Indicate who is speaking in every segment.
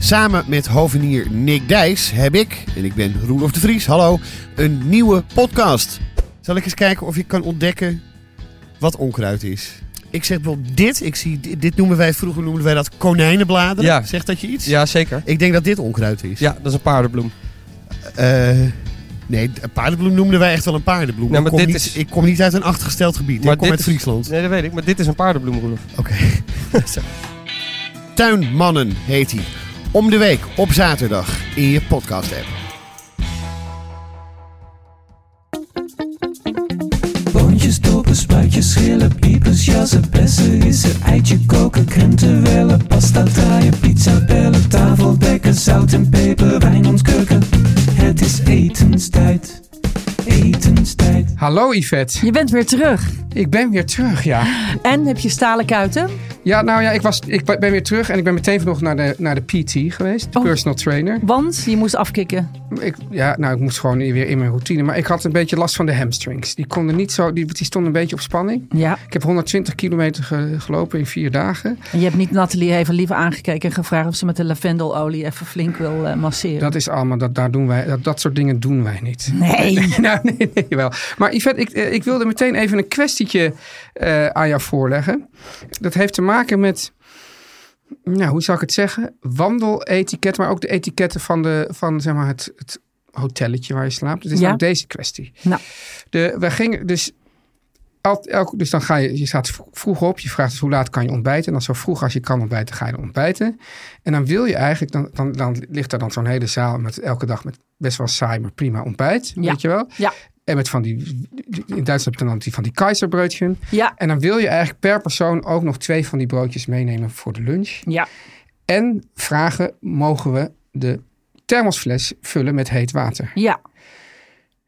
Speaker 1: Samen met hovenier Nick Dijs heb ik, en ik ben Roelof de Vries, hallo, een nieuwe podcast. Zal ik eens kijken of ik kan ontdekken wat onkruid is? Ik zeg wel dit, ik zie, dit, dit noemen wij, vroeger noemden wij dat konijnenbladeren.
Speaker 2: Ja.
Speaker 1: Zegt dat je iets?
Speaker 2: Ja, zeker.
Speaker 1: Ik denk dat dit onkruid is.
Speaker 2: Ja, dat is een paardenbloem.
Speaker 1: Eh, nee, een paardenbloem noemden wij echt wel een paardenbloem.
Speaker 2: Ja, maar
Speaker 1: ik, kom
Speaker 2: dit
Speaker 1: niet,
Speaker 2: is-
Speaker 1: ik kom niet uit een achtergesteld gebied,
Speaker 2: Maar
Speaker 1: ik kom
Speaker 2: dit
Speaker 1: uit
Speaker 2: is-
Speaker 1: Friesland.
Speaker 2: Nee, dat weet ik, maar dit is een paardenbloem, Roelof.
Speaker 1: Oké. Zo. Tuinmannen heet hij. Om de week op zaterdag in je podcast app.
Speaker 3: Boontjes, dopen, spuitjes, schillen, piepers, jassen, bessen, rissen, eitje koken, krenten wellen, pasta draaien, pizza bellen, tafel dekken, zout en peper, wijn ontkurken. Het is etenstijd, etenstijd.
Speaker 4: Hallo Yvette,
Speaker 5: Je bent weer terug.
Speaker 4: ik ben weer terug, ja.
Speaker 5: En heb je stalen kuiten?
Speaker 4: Ja, nou ja, ik, was, ik ben weer terug en ik ben meteen vanochtend naar de, naar de PT geweest, de
Speaker 5: Oh.
Speaker 4: personal trainer.
Speaker 5: Want je moest afkicken.
Speaker 4: Ik, ja, nou, ik moest gewoon weer in mijn routine, maar ik had een beetje last van de hamstrings. Die konden niet zo, die, die stonden een beetje op spanning.
Speaker 5: Ja.
Speaker 4: Ik heb 120 kilometer ge- gelopen in vier dagen.
Speaker 5: En je hebt niet Nathalie even lief aangekeken en gevraagd of ze met de lavendelolie even flink wil eh, masseren.
Speaker 4: Dat is allemaal, dat, daar doen wij, dat, dat soort dingen doen wij niet.
Speaker 5: Nee.
Speaker 4: Nou, nee, nee, wel. Maar Yvette, ik, eh, ik wilde meteen even een kwestietje eh, aan jou voorleggen. Dat heeft te maken met, nou, hoe zou ik het zeggen? Wandeletiket, maar ook de etiketten van, de, van zeg maar, het, het hotelletje waar je slaapt. Het is
Speaker 5: Ja.
Speaker 4: ook deze kwestie.
Speaker 5: Nou.
Speaker 4: De, we gingen dus... al- elk- dus dan ga je, je staat vro- vroeg op, je vraagt dus hoe laat kan je ontbijten. En dan zo vroeg als je kan ontbijten, ga je dan ontbijten. En dan wil je eigenlijk, dan, dan, dan ligt daar dan zo'n hele zaal met elke dag met best wel saai, maar prima ontbijt.
Speaker 5: Ja.
Speaker 4: Weet je wel?
Speaker 5: Ja.
Speaker 4: En met van die, in Duitsland heb je dan die van die keizerbroodchen.
Speaker 5: Ja.
Speaker 4: En dan wil je eigenlijk per persoon ook nog twee van die broodjes meenemen voor de lunch.
Speaker 5: Ja.
Speaker 4: En vragen, mogen we de thermosfles vullen met heet water?
Speaker 5: Ja.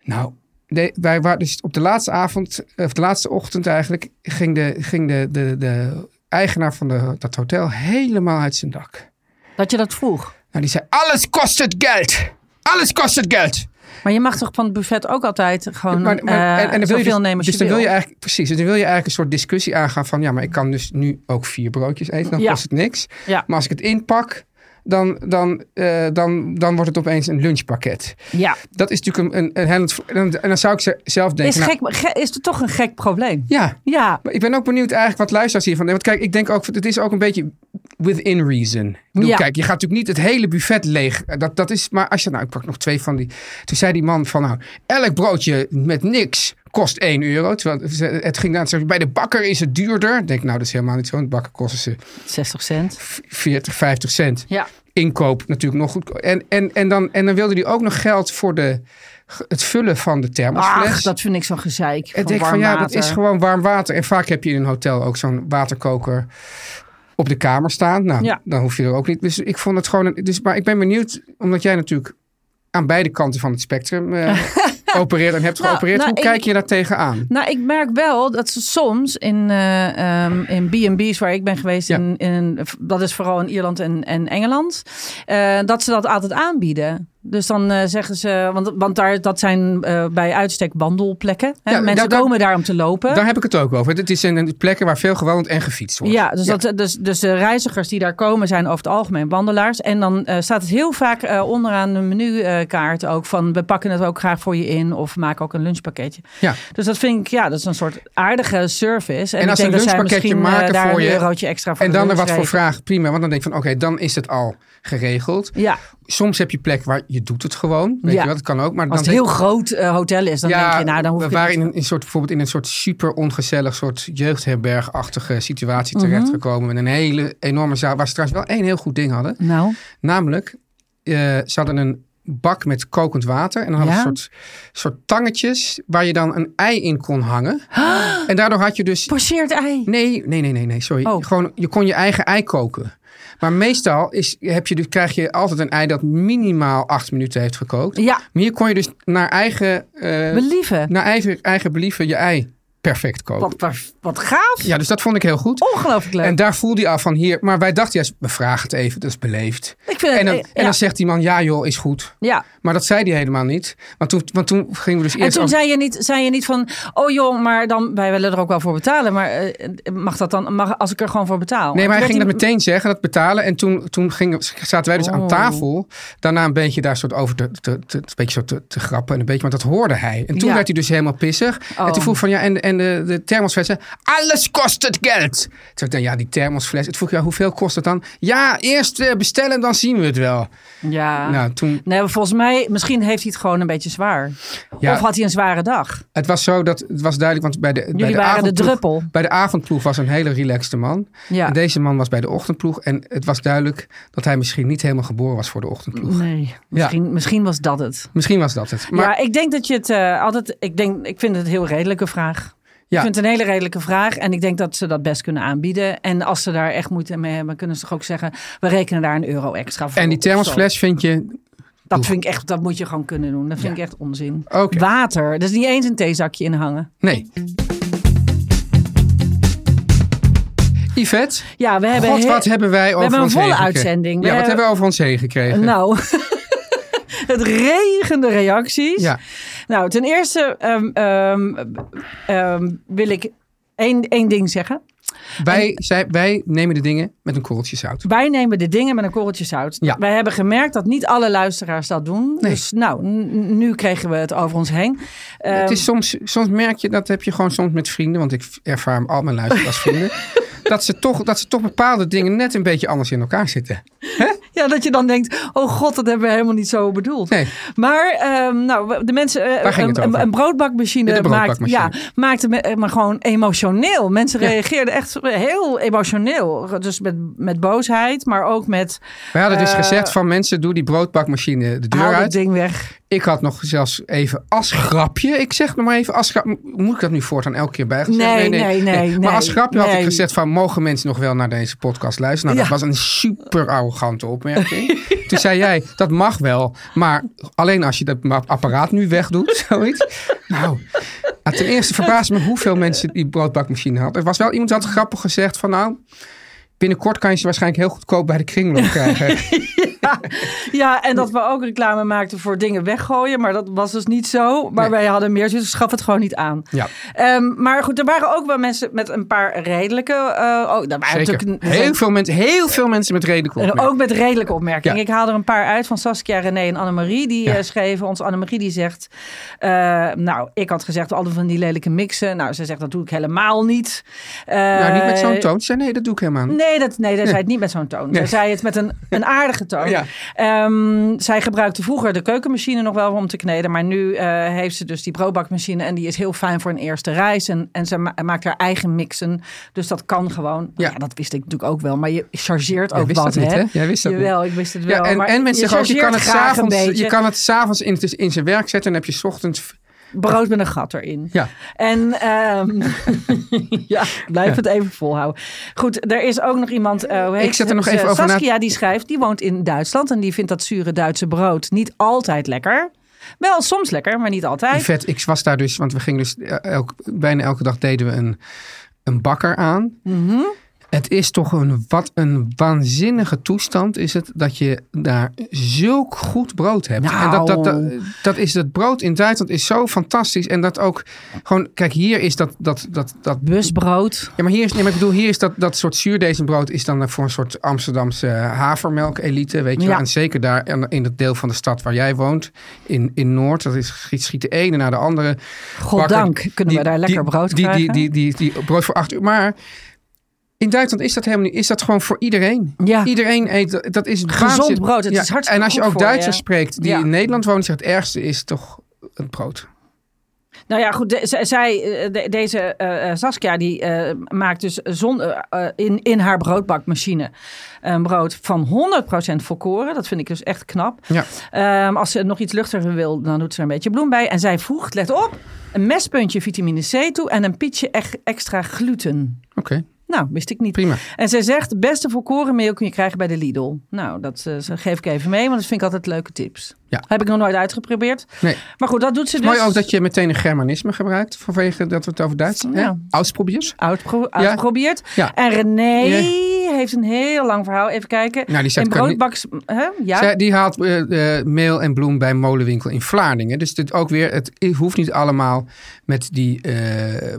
Speaker 4: Nou, de- wij waren dus op de laatste avond, eh, of de laatste ochtend eigenlijk, ging de, ging de, de, de eigenaar van de, dat hotel helemaal uit zijn dak.
Speaker 5: Dat je dat vroeg.
Speaker 4: Nou, die zei, alles kost het geld! Alles kost het geld!
Speaker 5: Maar je mag toch van het buffet ook altijd gewoon
Speaker 4: Maar- maar-
Speaker 5: eh,
Speaker 4: en- en dan wil je
Speaker 5: zoveel
Speaker 4: dus,
Speaker 5: nemen als
Speaker 4: dus
Speaker 5: je
Speaker 4: dan
Speaker 5: wil.
Speaker 4: wil je eigenlijk precies dus dan wil je eigenlijk een soort discussie aangaan van ja maar ik kan dus nu ook vier broodjes eten dan
Speaker 5: Ja.
Speaker 4: kost het niks
Speaker 5: Ja.
Speaker 4: maar als ik het inpak dan, dan, eh, dan, dan wordt het opeens een lunchpakket.
Speaker 5: Ja.
Speaker 4: Dat is natuurlijk een, een, een hellend- en, en dan zou ik ze zelf denken.
Speaker 5: Is,
Speaker 4: nou,
Speaker 5: gek, ge- is het toch een gek probleem?
Speaker 4: Ja,
Speaker 5: Ja.
Speaker 4: maar ik ben ook benieuwd eigenlijk wat luisteraars hiervan denken. Want kijk, ik denk ook, het is ook een beetje within reason. Ik bedoel,
Speaker 5: Ja.
Speaker 4: Kijk, je gaat natuurlijk niet het hele buffet leeg. Eh, Dat, dat is, maar als je, nou, ik pak nog twee van die. Toen zei die man van, nou, elk broodje met niks kost 1 euro. Terwijl ze- het ging nou, ze- bij de bakker is het duurder. Ik denk, nou, dat is helemaal niet zo. De bakker kosten ze
Speaker 5: 60 cent.
Speaker 4: 40, 50 cent.
Speaker 5: Ja.
Speaker 4: Inkoop natuurlijk nog goed. En, en, en, dan, en dan wilde hij ook nog geld voor de, het vullen van de thermosfles.
Speaker 5: Ach, dat vind ik zo'n gezeik.
Speaker 4: En ik denk van
Speaker 5: warm
Speaker 4: ja, dat
Speaker 5: water.
Speaker 4: is gewoon warm water. En vaak heb je in een hotel ook zo'n waterkoker op de kamer staan. Nou,
Speaker 5: Ja.
Speaker 4: dan hoef je er ook niet. Dus ik vond het gewoon. Een, dus, maar ik ben benieuwd, omdat jij natuurlijk aan beide kanten van het spectrum eh, opereert en hebt
Speaker 5: Nou,
Speaker 4: geopereerd.
Speaker 5: nou,
Speaker 4: Hoe
Speaker 5: ik-
Speaker 4: kijk je daar tegenaan?
Speaker 5: Nou, ik merk wel dat ze soms in, eh, ehm, in B&B's waar ik ben geweest,
Speaker 4: Ja.
Speaker 5: in, in, dat is vooral in Ierland en, en Engeland, eh, dat ze dat altijd aanbieden. Dus dan eh, zeggen ze, want, want daar, dat zijn eh, bij uitstek wandelplekken. Hè?
Speaker 4: Ja,
Speaker 5: Mensen
Speaker 4: daar- daar-
Speaker 5: komen daar om te lopen.
Speaker 4: Daar heb ik het ook over. Het zijn eh, plekken waar veel gewand en gefietst wordt.
Speaker 5: Ja, dus, Dat, dus, dus de reizigers die daar komen zijn over het algemeen wandelaars. En dan eh, staat het heel vaak eh, onderaan de menukaart ook van... we pakken het ook graag voor je in of maak ook een lunchpakketje.
Speaker 4: Ja.
Speaker 5: Dus dat vind ik, ja, dat is een soort aardige service.
Speaker 4: En
Speaker 5: ik
Speaker 4: als
Speaker 5: denk
Speaker 4: ze een
Speaker 5: dat zij
Speaker 4: lunchpakketje
Speaker 5: misschien, eh,
Speaker 4: maken
Speaker 5: daar
Speaker 4: voor
Speaker 5: een
Speaker 4: je
Speaker 5: eurotje extra voor
Speaker 4: En
Speaker 5: de
Speaker 4: dan er
Speaker 5: lunch
Speaker 4: wat voor
Speaker 5: rekenen.
Speaker 4: vraag, prima. Want dan denk ik van, oké, dan is het al geregeld.
Speaker 5: Ja,
Speaker 4: Soms heb je plek waar je doet het gewoon. Weet
Speaker 5: Ja.
Speaker 4: je wat, dat kan ook. Maar
Speaker 5: als
Speaker 4: dan
Speaker 5: het heel groot eh, hotel is, dan denk je, nou, dan hoef
Speaker 4: we
Speaker 5: ik
Speaker 4: waren
Speaker 5: het
Speaker 4: in een, in soort, bijvoorbeeld in een soort super ongezellig soort jeugdherbergachtige situatie
Speaker 5: Mhm.
Speaker 4: terechtgekomen. Met een hele enorme zaal. Waar ze trouwens wel één heel goed ding hadden.
Speaker 5: Nou,
Speaker 4: Namelijk, eh, ze hadden een bak met kokend water. En dan hadden
Speaker 5: Ja?
Speaker 4: ze een soort, soort tangetjes waar je dan een ei in kon hangen. En daardoor had je dus
Speaker 5: pocheert ei.
Speaker 4: Nee, nee, nee, nee, nee sorry.
Speaker 5: Oh.
Speaker 4: Gewoon, je kon je eigen ei koken. Maar meestal is, heb je, dus- krijg je altijd een ei dat minimaal acht minuten heeft gekookt.
Speaker 5: Ja,
Speaker 4: Maar hier kon je dus naar eigen, eh,
Speaker 5: believen.
Speaker 4: naar eigen, eigen believen je ei perfect koken.
Speaker 5: Wat, wat, wat gaaf.
Speaker 4: Ja, dus dat vond ik heel goed.
Speaker 5: Ongelooflijk leuk.
Speaker 4: En daar voelde hij af van hier. Maar wij dachten juist, we vragen het even, dat is beleefd.
Speaker 5: ik vind het,
Speaker 4: En dan,
Speaker 5: eh,
Speaker 4: en
Speaker 5: ja.
Speaker 4: dan zegt die man, ja joh, is goed.
Speaker 5: ja,
Speaker 4: Maar dat zei hij helemaal niet. Want toen, want toen gingen we dus
Speaker 5: En
Speaker 4: eerst...
Speaker 5: toen
Speaker 4: af-
Speaker 5: zei je, niet, zei je niet van, oh joh, maar dan, wij willen er ook wel voor betalen. Maar eh, mag dat dan, mag, als ik er gewoon voor betaal?
Speaker 4: Nee, maar hij
Speaker 5: Toen
Speaker 4: ging dat
Speaker 5: werd hij-
Speaker 4: meteen zeggen, dat betalen. En toen, toen gingen, zaten wij dus
Speaker 5: Oh.
Speaker 4: aan tafel. Daarna een beetje daar soort over te, te, te, een beetje zo te, te grappen. En een beetje, want dat hoorde hij. En toen
Speaker 5: Ja.
Speaker 4: werd hij dus helemaal pissig. En toen
Speaker 5: Oh.
Speaker 4: vroeg van, ja, en, en de, de thermosflessen. Alles kost het geld. Toen dacht ik, "Nou ja, die thermosfles. Het vroeg, ja, hoeveel kost het dan? Ja, eerst eh, bestellen, dan zien we het wel.
Speaker 5: Ja.
Speaker 4: Nou, toen,
Speaker 5: Nee, maar volgens mij, misschien heeft hij het gewoon een beetje zwaar.
Speaker 4: Ja.
Speaker 5: Of had hij een zware dag.
Speaker 4: het was zo dat, het was duidelijk, want bij de, bij
Speaker 5: Jullie
Speaker 4: de
Speaker 5: waren de
Speaker 4: avondploeg-
Speaker 5: druppel.
Speaker 4: Bij de avondploeg was een hele relaxte man.
Speaker 5: Ja.
Speaker 4: En deze man was bij de ochtendploeg. En het was duidelijk dat hij misschien niet helemaal geboren was voor de ochtendploeg.
Speaker 5: Nee, misschien, misschien was dat het.
Speaker 4: Misschien was dat het. Maar
Speaker 5: ja, ik denk dat je het eh, altijd. Ik, denk, ik vind het een heel redelijke vraag.
Speaker 4: Ja.
Speaker 5: Ik vind het een hele redelijke vraag. En ik denk dat ze dat best kunnen aanbieden. En als ze daar echt moeite mee hebben, kunnen ze toch ook zeggen: we rekenen daar een euro extra voor.
Speaker 4: en die
Speaker 5: op of zo.
Speaker 4: thermosfles vind je.
Speaker 5: Dat vind ik echt, dat moet je gewoon kunnen doen. Dat vind ik echt onzin.
Speaker 4: Oké.
Speaker 5: Water, dus niet eens een theezakje in hangen.
Speaker 4: Nee. Yvette,
Speaker 5: Ja, we hebben,
Speaker 4: god,
Speaker 5: he-
Speaker 4: wat hebben wij over
Speaker 5: hebben een
Speaker 4: ons
Speaker 5: volle
Speaker 4: heen gekregen?
Speaker 5: uitzending. We
Speaker 4: Ja, wat
Speaker 5: hebben-
Speaker 4: hebben we over ons heen gekregen?
Speaker 5: Nou, het regende reacties.
Speaker 4: Ja,
Speaker 5: Nou, ten eerste ehm, ehm, ehm, wil ik één, één ding zeggen.
Speaker 4: wij, zij, wij nemen de dingen met een korreltje zout.
Speaker 5: Wij nemen de dingen met een korreltje zout.
Speaker 4: Ja.
Speaker 5: Wij hebben gemerkt dat niet alle luisteraars dat doen.
Speaker 4: Nee.
Speaker 5: Dus nou, n- nu kregen we het over ons heen. Ehm,
Speaker 4: het is soms, soms merk je, dat heb je gewoon soms met vrienden, want ik ervaar al mijn luisteraars als vrienden, dat ze, toch, dat ze toch bepaalde dingen net een beetje anders in elkaar zitten.
Speaker 5: Ja, dat je dan denkt, oh god, dat hebben we helemaal niet zo bedoeld.
Speaker 4: Nee.
Speaker 5: Maar ehm, nou, de mensen, eh,
Speaker 4: Waar ging het
Speaker 5: een,
Speaker 4: over?
Speaker 5: een broodbakmachine,
Speaker 4: Ja, de broodbakmachine.
Speaker 5: Maakt, ja, maakte me, eh, maar gewoon emotioneel. Mensen reageerden echt heel emotioneel. Dus met, met boosheid, maar ook met
Speaker 4: Wij hadden dus
Speaker 5: Eh,
Speaker 4: gezegd van mensen, doe die broodbakmachine de deur
Speaker 5: haal dat
Speaker 4: uit.
Speaker 5: ding weg.
Speaker 4: Ik had nog zelfs even als grapje. Ik zeg nog maar even als grapje. Moet ik dat nu voortaan elke keer bij?
Speaker 5: Nee, nee, nee, nee,
Speaker 4: maar als grapje had
Speaker 5: nee.
Speaker 4: ik gezegd van... mogen mensen nog wel naar deze podcast luisteren? Nou, dat was een super arrogante opmerking. Toen zei jij, dat mag wel. Maar alleen als je dat ma- apparaat nu wegdoet. Zoiets. Nou, nou, ten eerste verbaasde me hoeveel mensen die broodbakmachine hadden. Er was wel iemand die had grappig gezegd van... nou, binnenkort kan je ze waarschijnlijk heel goedkoop bij de kringloop krijgen.
Speaker 5: Ja, en dat we ook reclame maakten voor dingen weggooien. Maar dat was dus niet zo. Maar
Speaker 4: Nee.
Speaker 5: wij hadden meer zoiets, dus schaf het gewoon niet aan.
Speaker 4: Ja.
Speaker 5: Ehm, maar goed, er waren ook wel mensen met een paar redelijke... eh, oh, daar waren
Speaker 4: Zeker.
Speaker 5: natuurlijk...
Speaker 4: Heel veel, mensen, heel veel mensen met reden
Speaker 5: En ook met redelijke opmerkingen.
Speaker 4: Ja.
Speaker 5: Ik haal er een paar uit van Saskia, René en Annemarie. Die
Speaker 4: Ja.
Speaker 5: eh, schreven, ons Annemarie die zegt... eh, nou, ik had gezegd, altijd van die lelijke mixen. Nou, ze zegt, dat doe ik helemaal niet.
Speaker 4: Nou, niet met zo'n
Speaker 5: Eh,
Speaker 4: toon. Ze zei, nee, dat doe ik helemaal niet.
Speaker 5: Nee, dat, nee, dat zei het niet met zo'n toon. Zij
Speaker 4: Nee.
Speaker 5: zei het met een, een aardige toon.
Speaker 4: Ja.
Speaker 5: Ehm, zij gebruikte vroeger de keukenmachine nog wel om te kneden. Maar nu eh, heeft ze dus die broodbakmachine. En die is heel fijn voor een eerste reis. En, en ze ma- maakt haar eigen mixen. Dus dat kan gewoon. Ja.
Speaker 4: Ja.
Speaker 5: dat wist ik natuurlijk ook wel. Maar je chargeert ook
Speaker 4: Jij wist
Speaker 5: wat.
Speaker 4: dat niet, hè? Jij wist dat niet.
Speaker 5: Jawel, ik wist het wel.
Speaker 4: Ja, en,
Speaker 5: maar
Speaker 4: en mensen zeggen ook, je kan het
Speaker 5: chargeert graag een
Speaker 4: s'avonds, je
Speaker 5: beetje.
Speaker 4: kan het s'avonds in, in zijn werk zetten en dan heb je 's ochtends...
Speaker 5: Brood met een gat erin.
Speaker 4: Ja.
Speaker 5: En ehm, ja, blijf het even volhouden. Goed, er is ook nog iemand. eh, hoe heet
Speaker 4: Ik zet er nog
Speaker 5: ze?
Speaker 4: even over na-
Speaker 5: Saskia die schrijft, die woont in Duitsland en die vindt dat zure Duitse brood niet altijd lekker. Wel soms lekker, maar niet altijd.
Speaker 4: Vet, ik was daar
Speaker 5: Mhm.
Speaker 4: dus, want we gingen dus eh, elk, bijna elke dag deden we een, een bakker aan. Het is toch een, wat een waanzinnige toestand is het dat je daar zulk goed brood hebt.
Speaker 5: Nou.
Speaker 4: En dat, dat, dat, dat is dat brood in Duitsland is zo fantastisch. En dat ook gewoon, kijk, hier is dat, dat, dat, dat
Speaker 5: Busbrood.
Speaker 4: ja, maar hier is, nee, maar ik bedoel, hier is dat, dat soort zuurdezenbrood is dan voor een soort Amsterdamse havermelk-elite, weet je wel.
Speaker 5: Ja.
Speaker 4: En zeker daar in- in het deel van de stad waar jij woont, in, in Noord, dat is schiet, schiet de ene naar de andere.
Speaker 5: Goddank
Speaker 4: Bakker,
Speaker 5: kunnen we daar lekker brood
Speaker 4: die,
Speaker 5: krijgen.
Speaker 4: Die, die, die, die, brood voor acht uur. Maar in Duitsland is dat helemaal niet. Is dat gewoon voor iedereen?
Speaker 5: Ja.
Speaker 4: Iedereen eet dat. dat is
Speaker 5: Gezond
Speaker 4: waanzin-
Speaker 5: brood, het is hartstikke
Speaker 4: En als je
Speaker 5: goed
Speaker 4: ook
Speaker 5: voor
Speaker 4: Duitsers
Speaker 5: je.
Speaker 4: spreekt die
Speaker 5: Ja.
Speaker 4: in Nederland wonen, zegt het ergste is toch het brood.
Speaker 5: Nou ja, goed. de- z- zij, eh, de- deze eh, eh, Saskia, die eh, maakt dus zon, eh, eh, in, in haar broodbakmachine een brood van 100% volkoren. Dat vind ik dus echt knap.
Speaker 4: Ja.
Speaker 5: Ehm, als ze nog iets luchtiger wil, dan doet ze er een beetje bloem bij. En zij voegt, let op, een mespuntje vitamine C toe en een pietje ech- extra gluten.
Speaker 4: Oké,
Speaker 5: Nou, wist ik niet.
Speaker 4: prima.
Speaker 5: En zij zegt, beste volkorenmeel kun je krijgen bij de Lidl. Nou, dat eh, ze- geef ik even mee, want dat vind ik altijd leuke tips.
Speaker 4: Ja.
Speaker 5: Heb ik nog nooit uitgeprobeerd.
Speaker 4: Nee.
Speaker 5: Maar goed, dat doet ze dus.
Speaker 4: Mooi ook dat je meteen een germanisme gebruikt vanwege dat we het over Duitsland
Speaker 5: Ja.
Speaker 4: hebben. Ausprobiers.
Speaker 5: Uitpro- uitgeprobeerd.
Speaker 4: Ja.
Speaker 5: En René heeft een heel lang verhaal. Even kijken.
Speaker 4: Nou, die zegt
Speaker 5: en
Speaker 4: kan niet-
Speaker 5: broodbaks... Hè? Ja.
Speaker 4: Zij, die haalt eh, eh, meel en bloem bij een molenwinkel in Vlaardingen. Dus dit ook weer, het hoeft niet allemaal met die, eh,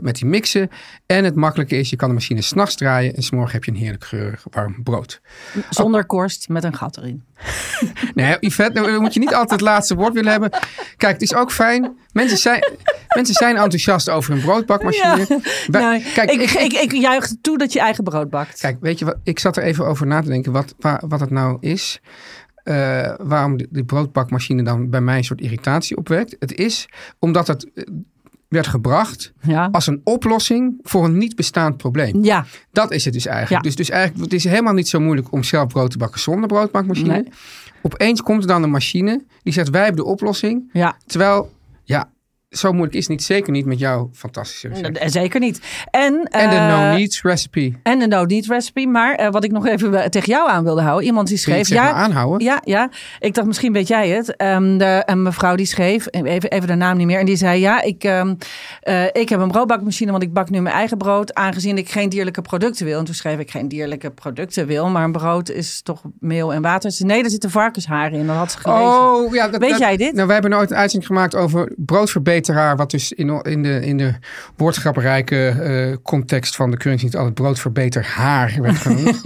Speaker 4: met die mixen. En het makkelijke is, je kan de machine s'nachts draaien en s'morgen heb je een heerlijk geurig warm brood.
Speaker 5: Zonder korst met een gat erin.
Speaker 4: Nee, Yvette, nou, moet je niet altijd het laatste woord willen hebben. Kijk, het is ook fijn. Mensen zijn, mensen zijn enthousiast over hun broodbakmachine. Wij-
Speaker 5: Nou, ik, ik, ik, juich toe dat je eigen brood bakt.
Speaker 4: Kijk, weet je wat? Ik zat er even over na te denken wat, waar, wat het nou is. eh, waarom de, de broodbakmachine dan bij mij een soort irritatie opwekt. Het is omdat het eh, werd gebracht
Speaker 5: ja.
Speaker 4: als een oplossing voor een niet bestaand probleem.
Speaker 5: ja.
Speaker 4: Dat is het dus eigenlijk.
Speaker 5: Ja.
Speaker 4: Dus, dus eigenlijk het is helemaal niet zo moeilijk om zelf brood te bakken zonder broodbakmachine.
Speaker 5: Nee.
Speaker 4: Opeens komt er dan een machine die zegt wij hebben de oplossing.
Speaker 5: Ja.
Speaker 4: Terwijl, ja, zo moeilijk is het niet. Zeker niet met jouw fantastische recept.
Speaker 5: Eh, Zeker niet. En,
Speaker 4: En de
Speaker 5: eh,
Speaker 4: no-needs recipe.
Speaker 5: En de no-need recipe. Maar eh, wat ik nog even eh, tegen jou aan wilde houden. Iemand die
Speaker 4: Kun je het
Speaker 5: schreef...
Speaker 4: zeg maar
Speaker 5: Ja,
Speaker 4: aanhouden?
Speaker 5: ja, ja, ik dacht misschien weet jij het. Ehm, de, een mevrouw die schreef, eh, even, even de naam niet meer. En die zei ja, ik, ehm, eh, ik heb een broodbakmachine. Want ik bak nu mijn eigen brood. Aangezien ik geen dierlijke producten wil. En toen schreef ik geen dierlijke producten wil. Maar een brood is toch meel en water. Ze zei, nee, daar zitten varkensharen in. Dat had ze gelezen.
Speaker 4: Oh, ja, dat,
Speaker 5: Weet
Speaker 4: dat-
Speaker 5: jij dit?
Speaker 4: Nou, wij hebben nooit een uitzending gemaakt over broodverbeteraar. Wat dus in, in, de, in de woordgrappenrijke eh, context van de Keuringsdienst niet altijd broodverbeteraar werd genoemd.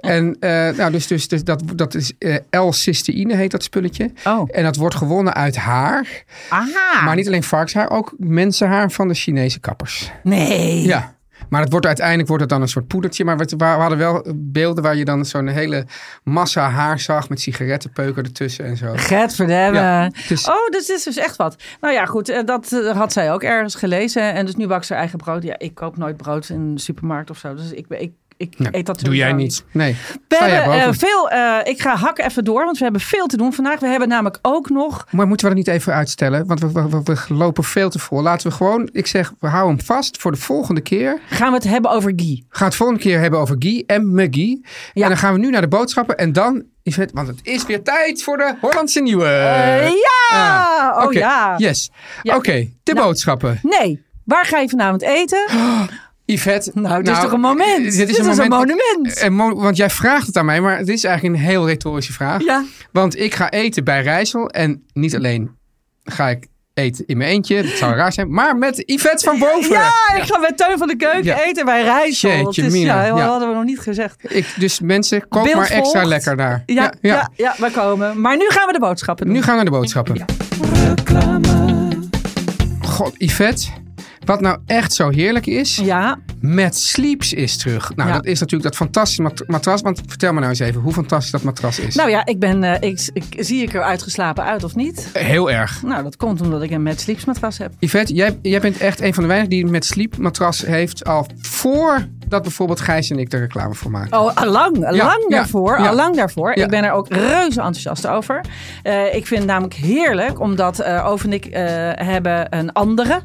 Speaker 4: en eh, nou, dus, dus, dus dat, dat is eh, L-cysteïne heet dat spulletje.
Speaker 5: Oh.
Speaker 4: En dat wordt gewonnen uit haar.
Speaker 5: Aha.
Speaker 4: Maar niet alleen varkenshaar, ook mensenhaar van de Chinese kappers.
Speaker 5: Nee.
Speaker 4: Ja. Maar het wordt uiteindelijk wordt het dan een soort poedertje. Maar we, we hadden wel beelden waar je dan zo'n hele massa haar zag met sigarettenpeuken ertussen en zo.
Speaker 5: Gert
Speaker 4: Ja, dus-
Speaker 5: Oh, dus dit is dus echt wat. Nou ja, goed, eh, dat eh, had zij ook ergens gelezen. En dus nu bakt ze haar eigen brood. Ja, ik koop nooit brood in de supermarkt of zo. Dus ik, ben- ik, ik
Speaker 4: Nee,
Speaker 5: eet dat
Speaker 4: Doe jij
Speaker 5: sowieso
Speaker 4: niet. Nee.
Speaker 5: We
Speaker 4: Sta jij
Speaker 5: hebben eh,
Speaker 4: boven?
Speaker 5: veel... eh, ik ga hakken even door, want we hebben veel te doen vandaag. We hebben namelijk ook nog...
Speaker 4: Maar moeten we dat niet even uitstellen? Want we, we, we- we lopen veel te vol. Laten we gewoon, ik zeg, we houden hem vast voor de volgende keer.
Speaker 5: Gaan we het hebben over Guy.
Speaker 4: Gaan we het volgende keer hebben over Guy en McGee.
Speaker 5: Ja.
Speaker 4: En dan gaan we nu naar de boodschappen. En dan, is het, want het is weer tijd voor de Hollandse Nieuwe.
Speaker 5: Eh, ja!
Speaker 4: Ah,
Speaker 5: oh
Speaker 4: oké.
Speaker 5: ja.
Speaker 4: Yes.
Speaker 5: Ja.
Speaker 4: Oké, de boodschappen.
Speaker 5: Nee, waar ga je vanavond eten?
Speaker 4: Yvette.
Speaker 5: Nou, dit is toch een moment.
Speaker 4: Dit is,
Speaker 5: Dit
Speaker 4: een,
Speaker 5: is een
Speaker 4: moment,
Speaker 5: monument.
Speaker 4: Eh, mo- want jij vraagt het aan mij, maar het is eigenlijk een heel retorische vraag.
Speaker 5: Ja.
Speaker 4: Want ik ga eten bij Rijssel. En niet alleen ga ik eten in mijn eentje, dat zou raar zijn, maar met Yvette van Boven.
Speaker 5: Ja, ik ga met Teun van de Keuken
Speaker 4: Ja.
Speaker 5: eten bij Rijssel. Het
Speaker 4: Jeetje,
Speaker 5: is-
Speaker 4: Mina,
Speaker 5: ja, dat
Speaker 4: ja.
Speaker 5: hadden we nog niet gezegd.
Speaker 4: Ik, dus mensen, koop
Speaker 5: Beeld
Speaker 4: maar extra
Speaker 5: volgt.
Speaker 4: lekker daar.
Speaker 5: Ja, ja, ja. we komen. Maar nu gaan we de boodschappen doen.
Speaker 4: Nu gaan we naar de boodschappen. God, Yvette. Wat nou echt zo heerlijk is,
Speaker 5: Ja,
Speaker 4: Met Sleeps is terug. Nou,
Speaker 5: Ja.
Speaker 4: dat is natuurlijk dat fantastische mat- matras. Want vertel me nou eens even hoe fantastisch dat matras is.
Speaker 5: nou ja, ik ben, eh, ik, ik, zie ik er uitgeslapen uit of niet?
Speaker 4: Heel erg.
Speaker 5: Nou, dat komt omdat ik een met sleepsmatras heb.
Speaker 4: Yvette, jij, jij bent echt een van de weinigen die een met Sleep matras heeft al voordat bijvoorbeeld Gijs en ik er reclame voor maken.
Speaker 5: Oh, allang, lang
Speaker 4: ja,
Speaker 5: daarvoor,
Speaker 4: ja.
Speaker 5: allang daarvoor.
Speaker 4: Ja.
Speaker 5: Ik ben er ook reuze enthousiast over. Eh, ik vind het namelijk heerlijk, omdat eh Oof en ik eh, hebben een andere.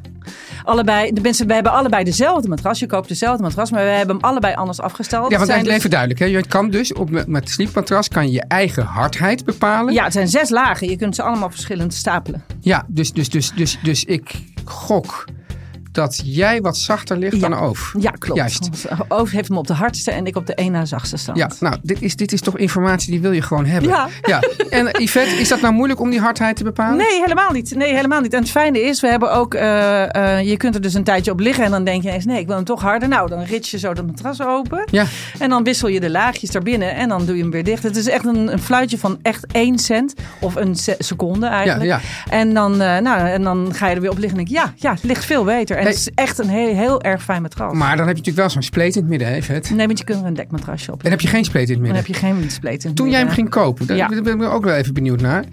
Speaker 5: Allebei, de mensen, we hebben allebei dezelfde matras. Je koopt dezelfde matras, maar we hebben hem allebei anders afgesteld.
Speaker 4: ja,
Speaker 5: Het
Speaker 4: want
Speaker 5: zijn
Speaker 4: even
Speaker 5: dus-
Speaker 4: duidelijk. Hè? Je kan dus op met, met Sleep matras kan je je eigen hardheid bepalen.
Speaker 5: ja, het zijn zes lagen. Je kunt ze allemaal verschillend stapelen.
Speaker 4: Ja, dus, dus, dus, dus, dus ik gok dat jij wat zachter ligt
Speaker 5: Ja.
Speaker 4: dan Oof.
Speaker 5: Ja, klopt.
Speaker 4: Juist.
Speaker 5: Want Oost heeft hem op de hardste en ik op de één na zachtste stand.
Speaker 4: Ja, nou, dit is, dit is toch informatie die wil je gewoon hebben.
Speaker 5: Ja.
Speaker 4: En eh, Yvette, is dat nou moeilijk om die hardheid te bepalen?
Speaker 5: Nee, helemaal niet. Nee, helemaal niet. En het fijne is, we hebben ook, eh, eh, je kunt er dus een tijdje op liggen en dan denk je ineens, nee, ik wil hem toch harder. Nou, dan rits je zo dat matras open
Speaker 4: Ja,
Speaker 5: en dan wissel je de laagjes daarbinnen en dan doe je hem weer dicht. Het is echt een, een fluitje van echt één cent of een se- seconde
Speaker 4: ja,
Speaker 5: eigenlijk.
Speaker 4: ja.
Speaker 5: En, dan, eh, nou, en dan ga je er weer op liggen en denk je, ja, ja, het ligt veel beter. En
Speaker 4: Hey.
Speaker 5: het is echt een heel, heel erg fijn matras.
Speaker 4: Maar dan heb je natuurlijk wel zo'n spleet in het midden, hè, Yvette?
Speaker 5: Nee, want je kunt er een dekmatrasje op
Speaker 4: Dan heb je geen spleet in het
Speaker 5: Dan
Speaker 4: midden.
Speaker 5: heb je geen spleet in het
Speaker 4: Toen jij hem
Speaker 5: midden.
Speaker 4: ging kopen, daar
Speaker 5: Ja.
Speaker 4: ben ik ook wel even benieuwd naar.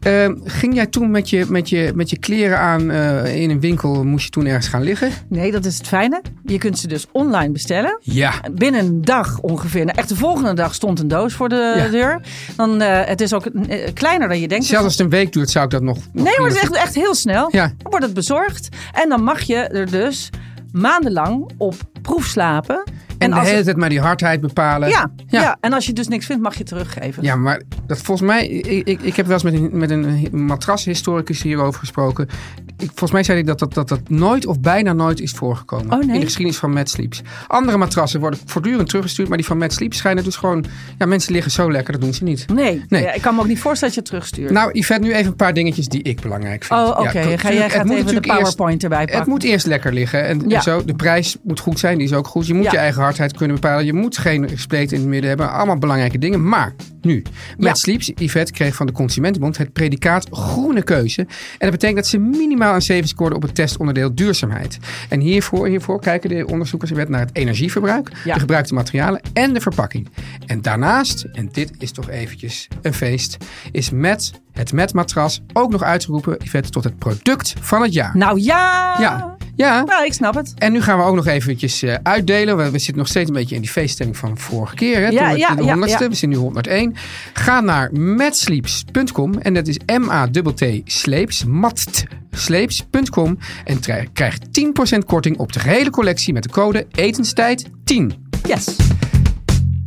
Speaker 4: Ehm, ging jij toen met je, met je, met je kleren aan eh, in een winkel, moest je toen ergens gaan liggen?
Speaker 5: Nee, dat is het fijne. Je kunt ze dus online bestellen.
Speaker 4: Ja.
Speaker 5: Binnen een dag ongeveer. Nou, echt de volgende dag stond een doos voor de
Speaker 4: Ja.
Speaker 5: deur. Dan, eh, het is ook eh, kleiner dan je denkt. Dus-
Speaker 4: Zelfs als het een week duurt, zou ik dat nog. nog
Speaker 5: nee, maar
Speaker 4: prima
Speaker 5: het is echt,
Speaker 4: vinden.
Speaker 5: echt heel snel.
Speaker 4: Ja.
Speaker 5: Dan wordt het bezorgd. En dan mag je er dus maandenlang op proef slapen.
Speaker 4: En
Speaker 5: En,
Speaker 4: de
Speaker 5: als
Speaker 4: hele
Speaker 5: het-
Speaker 4: tijd maar die hardheid bepalen.
Speaker 5: ja, ja.
Speaker 4: Ja.
Speaker 5: en als je dus niks vindt, mag je het teruggeven.
Speaker 4: Ja, maar dat volgens mij, ik, ik, ik heb wel eens met een, met een matrashistoricus hierover gesproken. Ik, volgens mij zei hij dat dat, dat dat nooit of bijna nooit is voorgekomen
Speaker 5: Oh, nee?
Speaker 4: in de geschiedenis van Mad Sleeps. Andere matrassen worden voortdurend teruggestuurd, maar die van Mad Sleeps schijnen dus gewoon, ja, mensen liggen zo lekker, dat doen ze niet.
Speaker 5: Nee,
Speaker 4: Nee.
Speaker 5: Ja, ik kan me ook niet voorstellen dat je het terugstuurt.
Speaker 4: Nou, Yvette, nu even een paar dingetjes die ik belangrijk vind.
Speaker 5: oh, oké.
Speaker 4: Ja,
Speaker 5: Ga-
Speaker 4: tuurlijk,
Speaker 5: jij
Speaker 4: het
Speaker 5: gaat
Speaker 4: moet
Speaker 5: even de
Speaker 4: natuurlijk eerst-
Speaker 5: PowerPoint erbij pakken.
Speaker 4: het moet eerst lekker liggen. En
Speaker 5: Ja.
Speaker 4: zo, de prijs moet goed zijn, die is ook goed. Je moet
Speaker 5: Ja.
Speaker 4: je eigen hardheid kunnen bepalen. Je moet geen spleet in het midden hebben. Allemaal belangrijke dingen. Maar nu, met
Speaker 5: Ja.
Speaker 4: Sleeps, Yvette kreeg van de Consumentenbond het predicaat groene keuze. En dat betekent dat ze minimaal een 7 scoorde op het testonderdeel duurzaamheid. En hiervoor, hiervoor kijken de onderzoekers Yvette, naar het energieverbruik,
Speaker 5: Ja.
Speaker 4: de gebruikte materialen en de verpakking. En daarnaast, en dit is toch eventjes een feest, is met het met matras ook nog uitgeroepen, Yvette, tot het product van het jaar.
Speaker 5: Nou ja.
Speaker 4: Ja, ja.
Speaker 5: Nou, ik snap het.
Speaker 4: En nu gaan we ook nog eventjes eh, uitdelen. We, we zitten nog steeds een beetje in die feeststemming van vorige keer. Hè?
Speaker 5: Ja,
Speaker 4: Toen we-
Speaker 5: ja,
Speaker 4: de
Speaker 5: ja,
Speaker 4: 100ste.
Speaker 5: ja.
Speaker 4: We zijn nu 101. Ga naar matsleeps.com. En dat is M-A-T-T sleeps. Mat sleeps.com. En tra- krijg 10% korting op de gehele collectie met de code etenstijd10.
Speaker 5: Yes.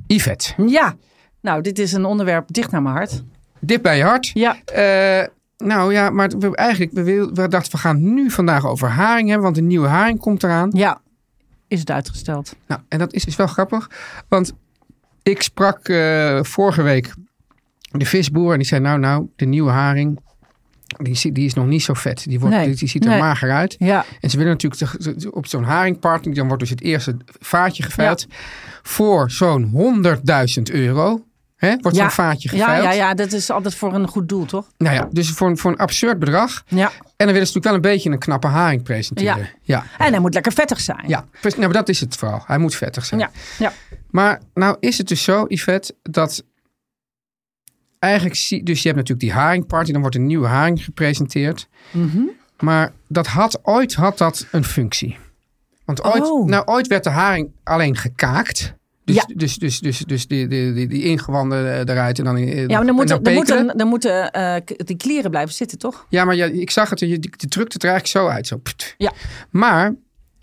Speaker 4: Yvette,
Speaker 5: Ja. Nou, dit is een onderwerp dicht naar mijn hart.
Speaker 4: dit bij je hart.
Speaker 5: Ja.
Speaker 4: Eh, nou ja, maar we, eigenlijk, we, wil- we dachten we gaan nu vandaag over haring hebben. Want een nieuwe haring komt eraan.
Speaker 5: Ja. Is het uitgesteld?
Speaker 4: Nou, en dat is dus wel grappig. Want ik sprak eh, vorige week de visboer en die zei: Nou, nou, de nieuwe haring. Die, zie- die is nog niet zo vet. Die, wordt,
Speaker 5: Nee,
Speaker 4: die, die ziet er
Speaker 5: nee.
Speaker 4: mager uit.
Speaker 5: Ja.
Speaker 4: En ze willen natuurlijk te- te- op zo'n haringpartner, dan wordt dus het eerste vaatje geveild. Voor zo'n 100.000 euro hè, wordt
Speaker 5: Ja.
Speaker 4: zo'n vaatje
Speaker 5: Ja,
Speaker 4: geveild.
Speaker 5: ja, ja, dat is altijd voor een goed doel, toch?
Speaker 4: Nou ja, dus voor, een- voor een absurd bedrag.
Speaker 5: Ja.
Speaker 4: En dan willen ze natuurlijk wel een beetje een knappe haring presenteren.
Speaker 5: Ja.
Speaker 4: Ja, ja.
Speaker 5: En hij moet lekker vettig zijn.
Speaker 4: precies. nou, maar dat is het vooral. Hij moet vettig zijn.
Speaker 5: Ja. ja.
Speaker 4: Maar nou is het dus zo, Yvette, dat eigenlijk zie dus je hebt natuurlijk die haringparty, dan wordt een nieuwe haring gepresenteerd.
Speaker 5: Mhm.
Speaker 4: Maar dat had ooit had dat een functie. Want ooit,
Speaker 5: Oh.
Speaker 4: nou, ooit werd de haring alleen gekaakt. Dus,
Speaker 5: Ja.
Speaker 4: dus, dus, dus, dus die, die, die, die ingewanden eh, eruit en dan. eh,
Speaker 5: Ja, maar
Speaker 4: en
Speaker 5: dan moeten, dan
Speaker 4: pekelen.
Speaker 5: moeten, dan moeten eh, k- die klieren blijven zitten, toch?
Speaker 4: Ja, maar ja, ik zag het. Je, je drukt het er eigenlijk zo uit. Zo. pft.
Speaker 5: Ja.
Speaker 4: Maar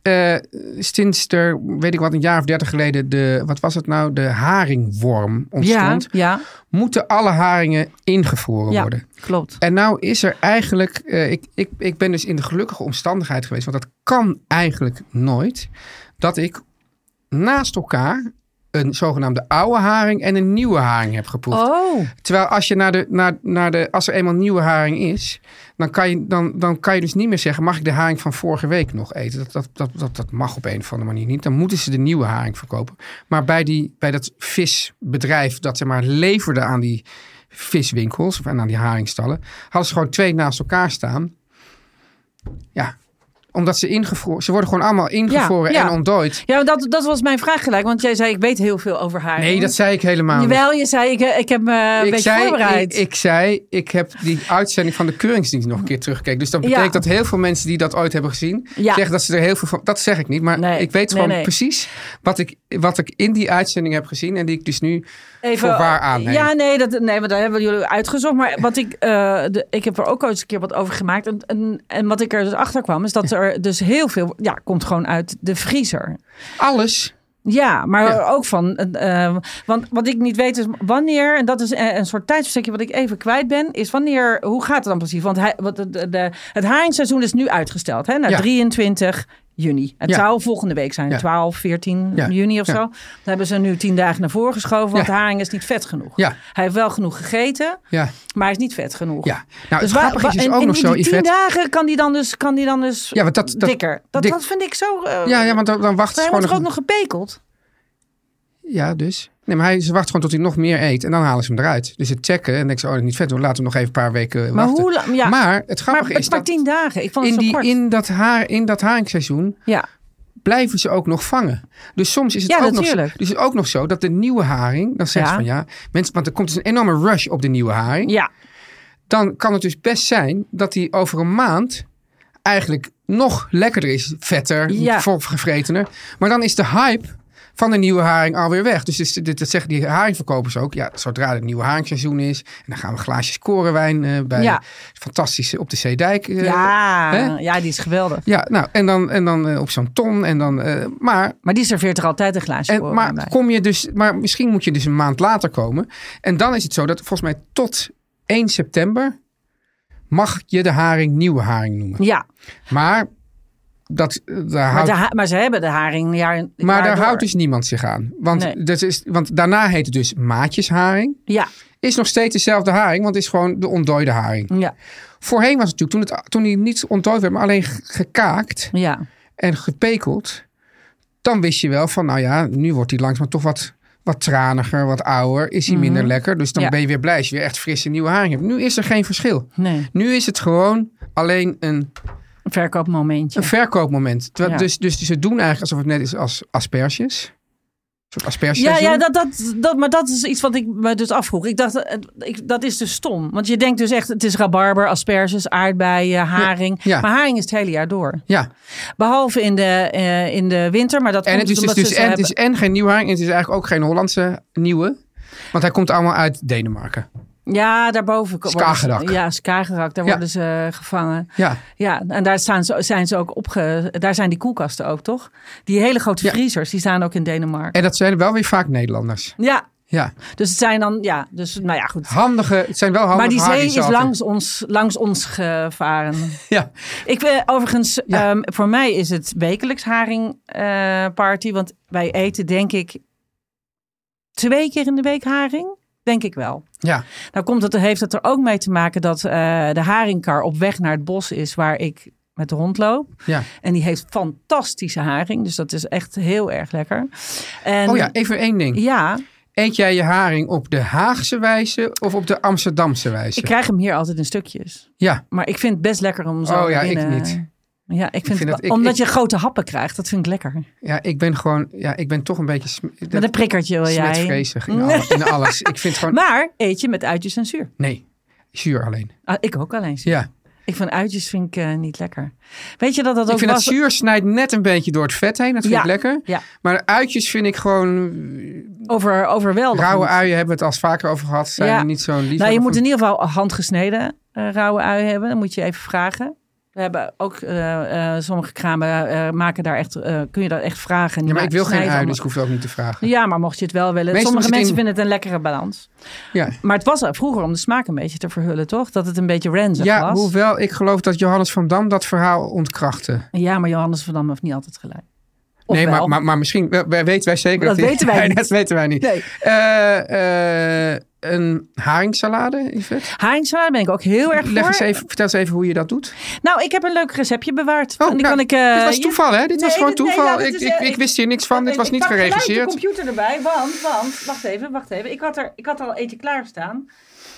Speaker 4: eh, sinds er, weet ik wat, een jaar of dertig geleden de, wat was het nou, de haringworm ontstond,
Speaker 5: Ja,
Speaker 4: moeten alle haringen ingevroren
Speaker 5: ja, ja
Speaker 4: worden.
Speaker 5: klopt.
Speaker 4: En nou is er eigenlijk, eh, ik, ik, ik ben dus in de gelukkige omstandigheid geweest, want dat kan eigenlijk nooit, dat ik naast elkaar een zogenaamde oude haring en een nieuwe haring heb geproefd.
Speaker 5: Oh,
Speaker 4: Terwijl als, je naar de, naar, naar de, als er eenmaal nieuwe haring is, dan kan, je, dan, dan kan je dus niet meer zeggen: mag ik de haring van vorige week nog eten? Dat, dat, dat, dat, dat mag op een of andere manier niet. Dan moeten ze de nieuwe haring verkopen. Maar bij, die, bij dat visbedrijf dat ze maar leverde aan die viswinkels en aan die haringstallen, hadden ze gewoon twee naast elkaar staan. Ja, omdat ze ingevroren, ze worden gewoon allemaal ingevroren
Speaker 5: ja.
Speaker 4: en ontdooid.
Speaker 5: ja, dat, dat was mijn vraag gelijk. Want jij zei, ik weet heel veel over haar.
Speaker 4: Nee, dat zei ik helemaal niet.
Speaker 5: Jawel, je zei, ik, eh, ik heb me een beetje voorbereid.
Speaker 4: Ik, ik zei, ik heb die uitzending van de Keuringsdienst nog een keer teruggekeken. Dus dat betekent
Speaker 5: Ja.
Speaker 4: dat heel veel mensen die dat ooit hebben gezien,
Speaker 5: Ja.
Speaker 4: zeggen dat ze er heel veel van. Dat zeg ik niet, maar
Speaker 5: Nee,
Speaker 4: ik weet
Speaker 5: nee,
Speaker 4: gewoon
Speaker 5: nee.
Speaker 4: precies wat ik, wat ik in die uitzending heb gezien en die ik dus nu voor waar aanneem.
Speaker 5: Ja, nee, dat, nee, maar daar hebben jullie uitgezocht. Maar wat ik, eh, de, ik heb er ook ooit eens een keer wat over gemaakt. En, en, en wat ik er dus achter kwam, is dat er dus heel veel, ja, komt gewoon uit de vriezer.
Speaker 4: Alles.
Speaker 5: Ja, maar
Speaker 4: Ja.
Speaker 5: ook van. eh, eh, want wat ik niet weet is wanneer, en dat is eh, een soort tijdsverstekje wat ik even kwijt ben, is wanneer, hoe gaat het dan precies? Want hij, wat, de, de- het haringseizoen is nu uitgesteld hè, naar
Speaker 4: Ja.
Speaker 5: 23 juni. Het
Speaker 4: Ja.
Speaker 5: zou volgende week zijn,
Speaker 4: Ja.
Speaker 5: 12, 14
Speaker 4: Ja.
Speaker 5: juni of
Speaker 4: Ja.
Speaker 5: zo. Dan hebben ze nu tien dagen naar voren geschoven, want
Speaker 4: Ja.
Speaker 5: de haring is niet vet genoeg.
Speaker 4: Ja.
Speaker 5: Hij heeft wel genoeg gegeten,
Speaker 4: Ja,
Speaker 5: maar hij is niet vet genoeg.
Speaker 4: ja. Nou,
Speaker 5: Dus
Speaker 4: het
Speaker 5: waar-
Speaker 4: grappige is, is
Speaker 5: en-
Speaker 4: ook
Speaker 5: en
Speaker 4: nog
Speaker 5: in
Speaker 4: zo,
Speaker 5: die tien
Speaker 4: Yvette.
Speaker 5: dagen kan die dan dus, kan die dan dus
Speaker 4: Ja, want dat- dat-
Speaker 5: dikker. Dat,
Speaker 4: dik-
Speaker 5: dat vind ik zo... eh,
Speaker 4: Ja, ja, want dan, dan wacht
Speaker 5: Hij
Speaker 4: gewoon
Speaker 5: wordt
Speaker 4: nog...
Speaker 5: ook nog gepekeld.
Speaker 4: Ja, dus. Nee, maar hij, ze wacht gewoon tot hij nog meer eet en dan halen ze hem eruit. Dus het checken en denk ze, oh, dat is niet vet, hoor, laten we hem nog even een paar weken
Speaker 5: Maar
Speaker 4: wachten.
Speaker 5: hoe lang? Ja,
Speaker 4: Maar het grappige
Speaker 5: maar het
Speaker 4: is
Speaker 5: is maar
Speaker 4: dat
Speaker 5: tien dagen. Ik vond het
Speaker 4: in,
Speaker 5: zo
Speaker 4: die,
Speaker 5: kort.
Speaker 4: in, dat haar, in dat haringseizoen
Speaker 5: Ja.
Speaker 4: blijven ze ook nog vangen. Dus soms is het,
Speaker 5: Ja,
Speaker 4: ook, nog,
Speaker 5: natuurlijk.
Speaker 4: dus het is ook nog zo dat de nieuwe haring, dan zegt
Speaker 5: Ja.
Speaker 4: ze van ja, mensen, want er komt dus een enorme rush op de nieuwe haring.
Speaker 5: ja,
Speaker 4: Dan kan het dus best zijn dat die over een maand eigenlijk nog lekkerder is, vetter,
Speaker 5: Ja.
Speaker 4: volgevretener. Maar dan is de hype van de nieuwe haring alweer weg. Dus dit, dit, dat zeggen die haringverkopers ook. Ja, zodra het nieuwe haringseizoen is, en dan gaan we glaasjes korenwijn eh, bij
Speaker 5: Ja.
Speaker 4: fantastische op de Zeedijk. eh,
Speaker 5: ja,
Speaker 4: hè?
Speaker 5: ja, die is geweldig.
Speaker 4: Ja, nou, en dan, en dan eh, op zo'n ton. En dan, eh, maar
Speaker 5: Maar die serveert er altijd een glaasje
Speaker 4: en,
Speaker 5: voor
Speaker 4: maar,
Speaker 5: bij.
Speaker 4: kom je dus, maar misschien moet je dus een maand later komen. En dan is het zo dat volgens mij tot 1 september mag je de haring nieuwe haring noemen.
Speaker 5: Ja,
Speaker 4: Maar, dat, eh, daar
Speaker 5: maar,
Speaker 4: houdt,
Speaker 5: de ha- maar ze hebben de haring jaar
Speaker 4: maar daar
Speaker 5: daardoor.
Speaker 4: houdt dus niemand zich aan. Want,
Speaker 5: Nee.
Speaker 4: dat is, want daarna heet het dus maatjesharing.
Speaker 5: Ja,
Speaker 4: Is nog steeds dezelfde haring, want het is gewoon de ontdooide haring.
Speaker 5: ja,
Speaker 4: Voorheen was het natuurlijk, toen, het, toen die niet ontdooid werd, maar alleen ge- gekaakt
Speaker 5: ja.
Speaker 4: en gepekeld, dan wist je wel van, nou ja, nu wordt hij langzaam toch wat, wat traniger, wat ouder, is hij minder lekker. Dus dan
Speaker 5: Mhm. Ja.
Speaker 4: ben je weer blij als je weer echt frisse nieuwe haring hebt. Nu is er geen verschil.
Speaker 5: Nee,
Speaker 4: Nu is het gewoon alleen een,
Speaker 5: een verkoopmomentje.
Speaker 4: een verkoopmoment. Terwijl-
Speaker 5: Ja.
Speaker 4: Dus, dus ze doen eigenlijk alsof het net is als asperges. Een soort asperges.
Speaker 5: Ja, ja dat, dat, dat, maar dat is iets wat ik me dus afvroeg. Ik dacht, eh, ik, dat is dus stom. Want je denkt dus echt, het is rabarber, asperges, aardbeien, haring.
Speaker 4: Ja, ja.
Speaker 5: Maar haring is het hele jaar door.
Speaker 4: ja.
Speaker 5: Behalve in de, eh, in de winter, maar dat
Speaker 4: En
Speaker 5: komt
Speaker 4: het is dus,
Speaker 5: omdat
Speaker 4: dus
Speaker 5: ze ze
Speaker 4: en, het
Speaker 5: hebben-
Speaker 4: is en geen nieuwe haring en het is eigenlijk ook geen Hollandse nieuwe. Want hij komt allemaal uit Denemarken.
Speaker 5: Ja, daarboven. worden ze-
Speaker 4: Skagerrak.
Speaker 5: Ja, Skagerrak. Daar
Speaker 4: Ja.
Speaker 5: worden ze eh, gevangen.
Speaker 4: Ja,
Speaker 5: Ja, en daar staan ze, zijn ze ook opge... Daar zijn die koelkasten ook, toch? Die hele grote
Speaker 4: Ja.
Speaker 5: vriezers, die staan ook in Denemarken.
Speaker 4: en dat zijn wel weer vaak Nederlanders.
Speaker 5: Ja,
Speaker 4: Ja,
Speaker 5: dus het zijn dan... Ja, dus nou ja, goed.
Speaker 4: handige, het zijn wel handige
Speaker 5: Maar die zee is
Speaker 4: haringszaden.
Speaker 5: langs ons, langs ons gevaren.
Speaker 4: Ja,
Speaker 5: Ik wil overigens,
Speaker 4: Ja.
Speaker 5: ehm, voor mij is het wekelijks haringparty. eh, party, want wij eten denk ik twee keer in de week haring. Denk ik wel.
Speaker 4: ja.
Speaker 5: Nou komt het, heeft het er ook mee te maken dat eh, de haringkar op weg naar het bos is waar ik met de hond loop.
Speaker 4: Ja.
Speaker 5: En die heeft fantastische haring. Dus dat is echt heel erg lekker. En,
Speaker 4: Oh ja, even één ding.
Speaker 5: Ja,
Speaker 4: Eet jij je haring op de Haagse wijze of op de Amsterdamse wijze?
Speaker 5: ik krijg hem hier altijd in stukjes.
Speaker 4: Ja,
Speaker 5: Maar ik vind het best lekker om zo
Speaker 4: Oh ja, ik
Speaker 5: binnen-
Speaker 4: niet.
Speaker 5: Ja, ik vind,
Speaker 4: vind
Speaker 5: het-
Speaker 4: dat- ik-
Speaker 5: omdat
Speaker 4: ik-
Speaker 5: je grote happen krijgt, dat vind ik lekker.
Speaker 4: ja, ik ben gewoon, ja, ik ben toch een beetje sm
Speaker 5: Met een prikkertje wil jij.
Speaker 4: smetvreesig in, alles, in alles. Ik vind gewoon,
Speaker 5: Maar eet je met uitjes en zuur.
Speaker 4: nee, zuur alleen.
Speaker 5: Ah, ik ook alleen zuur.
Speaker 4: Ja,
Speaker 5: Ik vind uitjes vind ik eh, niet lekker. Weet je dat dat ook
Speaker 4: ik vind dat
Speaker 5: was?
Speaker 4: zuur snijdt net een beetje door het vet heen. Dat vind
Speaker 5: Ja.
Speaker 4: ik lekker.
Speaker 5: Ja,
Speaker 4: Maar de uitjes vind ik gewoon,
Speaker 5: over, overweldigend.
Speaker 4: rauwe uien hebben we het al eens vaker over gehad. Zijn
Speaker 5: Ja.
Speaker 4: niet zo'n lief.
Speaker 5: Nou, je moet in ieder geval handgesneden eh rauwe ui hebben. Dan moet je even vragen. We hebben ook eh, eh, sommige kramen eh, maken daar echt, eh, kun je dat echt vragen. En die
Speaker 4: Ja, maar ik
Speaker 5: maken-
Speaker 4: wil geen
Speaker 5: snijden
Speaker 4: ui,
Speaker 5: allemaal.
Speaker 4: dus ik hoef het ook niet te vragen.
Speaker 5: Ja, maar mocht je het wel willen.
Speaker 4: Meestal
Speaker 5: Sommige
Speaker 4: is het
Speaker 5: mensen
Speaker 4: in-
Speaker 5: vinden het een lekkere balans.
Speaker 4: Ja.
Speaker 5: Maar het was er vroeger om de smaak een beetje te verhullen, toch? Dat het een beetje ranzig
Speaker 4: Ja,
Speaker 5: was.
Speaker 4: hoewel ik geloof dat Johannes van Dam dat verhaal ontkrachtte.
Speaker 5: Ja, maar Johannes van Dam heeft niet altijd gelijk. Of
Speaker 4: nee,
Speaker 5: wel?
Speaker 4: maar, maar, maar misschien wij- wij weten wij zeker.
Speaker 5: Dat
Speaker 4: die-
Speaker 5: weten wij
Speaker 4: Nee,
Speaker 5: niet.
Speaker 4: Dat weten wij niet.
Speaker 5: Nee.
Speaker 4: Eh, eh, een haringsalade, Yvette?
Speaker 5: Haringsalade ben ik ook heel erg
Speaker 4: Leg
Speaker 5: voor.
Speaker 4: eens even, vertel eens even hoe je dat doet.
Speaker 5: Nou, ik heb een leuk receptje bewaard.
Speaker 4: Oh,
Speaker 5: en die
Speaker 4: nou,
Speaker 5: kan ik, eh,
Speaker 4: dit was
Speaker 5: je-
Speaker 4: toeval, hè? Dit
Speaker 5: Nee,
Speaker 4: was gewoon
Speaker 5: dit- nee,
Speaker 4: toeval.
Speaker 5: ja, dit
Speaker 4: ik,
Speaker 5: is,
Speaker 4: ik,
Speaker 5: eh,
Speaker 4: ik wist hier niks van. Dit
Speaker 5: Ik-
Speaker 4: was
Speaker 5: ik
Speaker 4: niet
Speaker 5: pak gelijk
Speaker 4: geregisseerd.
Speaker 5: de computer erbij, want, want, wacht even, wacht even. Ik had, er, ik had al eentje klaarstaan.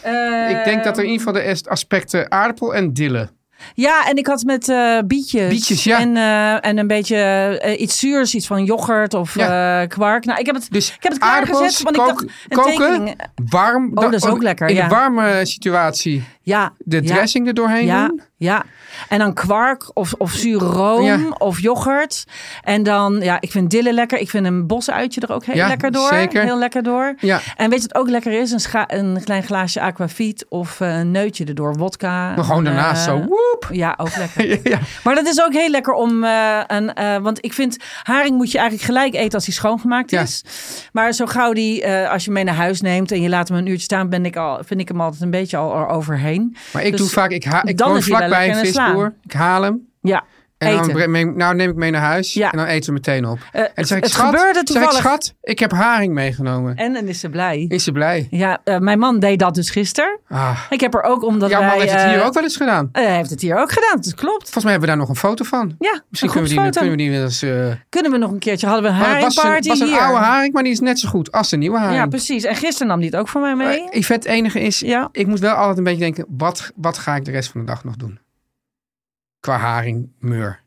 Speaker 5: Eh,
Speaker 4: Ik denk dat er in ieder geval de est- aspecten aardappel en dille.
Speaker 5: Ja, en ik had met eh, bietjes.
Speaker 4: Bietjes, ja.
Speaker 5: En, eh, en een beetje eh, iets zuurs, iets van yoghurt of
Speaker 4: Ja.
Speaker 5: eh, kwark. Nou, ik heb het,
Speaker 4: Dus
Speaker 5: ik heb het
Speaker 4: aardappels,
Speaker 5: klaargezet. Want
Speaker 4: kook-
Speaker 5: ik dacht, een
Speaker 4: koken,
Speaker 5: tekening- eh. Oh,
Speaker 4: warm. oh,
Speaker 5: dat is ook lekker,
Speaker 4: In
Speaker 5: ja.
Speaker 4: de warme situatie
Speaker 5: Ja.
Speaker 4: de
Speaker 5: ja,
Speaker 4: dressing er doorheen
Speaker 5: Ja,
Speaker 4: doen.
Speaker 5: ja, en dan kwark of, of zure room
Speaker 4: Ja.
Speaker 5: of yoghurt. En dan, ja, ik vind dille lekker. Ik vind een bosuitje er ook heel
Speaker 4: Ja,
Speaker 5: lekker door.
Speaker 4: zeker.
Speaker 5: Heel lekker door.
Speaker 4: Ja.
Speaker 5: En weet je wat ook lekker is? Een, scha- een klein glaasje aquavit of eh, een neutje erdoor. Wodka.
Speaker 4: Maar gewoon
Speaker 5: En,
Speaker 4: daarnaast
Speaker 5: eh,
Speaker 4: zo. Woep.
Speaker 5: Ja, ook lekker.
Speaker 4: Ja.
Speaker 5: Maar dat is ook heel lekker om eh, een... eh, want ik vind, haring moet je eigenlijk gelijk eten als die schoongemaakt
Speaker 4: Ja.
Speaker 5: is. Maar zo gauw die, eh, als je mee naar huis neemt en je laat hem een uurtje staan, ben ik al, vind ik hem altijd een beetje al overheen.
Speaker 4: Maar ik
Speaker 5: Dus
Speaker 4: doe vaak, ik, ha, ik
Speaker 5: dan
Speaker 4: woon
Speaker 5: is hij wel
Speaker 4: vlakbij een
Speaker 5: lekker in de sla.
Speaker 4: visboer. Ik haal hem.
Speaker 5: Ja,
Speaker 4: En dan
Speaker 5: Eten.
Speaker 4: breng- neem- nou neem ik mee naar huis
Speaker 5: Ja.
Speaker 4: en dan eten ze meteen op.
Speaker 5: Eh,
Speaker 4: en dan zeg ik,
Speaker 5: het
Speaker 4: schat,
Speaker 5: gebeurde
Speaker 4: zeg ik,
Speaker 5: toevallig.
Speaker 4: schat, ik heb haring meegenomen.
Speaker 5: En dan is ze blij.
Speaker 4: Is ze blij?
Speaker 5: Ja, eh, mijn man deed dat dus gisteren.
Speaker 4: Ah.
Speaker 5: Ik heb er ook omdat
Speaker 4: Jouw
Speaker 5: wij...
Speaker 4: man heeft het hier
Speaker 5: eh,
Speaker 4: ook wel eens gedaan.
Speaker 5: eh, Hij heeft het hier ook gedaan, dus klopt.
Speaker 4: Volgens mij hebben we daar nog een foto van.
Speaker 5: Ja,
Speaker 4: Misschien
Speaker 5: een
Speaker 4: kunnen we, die,
Speaker 5: groepsfoto.
Speaker 4: kunnen we die wel eens... eh,
Speaker 5: Kunnen we nog een keertje? Hadden we een
Speaker 4: maar het was een,
Speaker 5: haringparty
Speaker 4: was een
Speaker 5: hier.
Speaker 4: oude haring, maar die is net zo goed als de nieuwe haring.
Speaker 5: Ja, precies. En gisteren nam die het ook voor mij mee.
Speaker 4: Eh, Yvette, het enige is,
Speaker 5: Ja.
Speaker 4: ik moet wel altijd een beetje denken, wat, wat ga ik de rest van de dag nog doen? Qua haring, meur.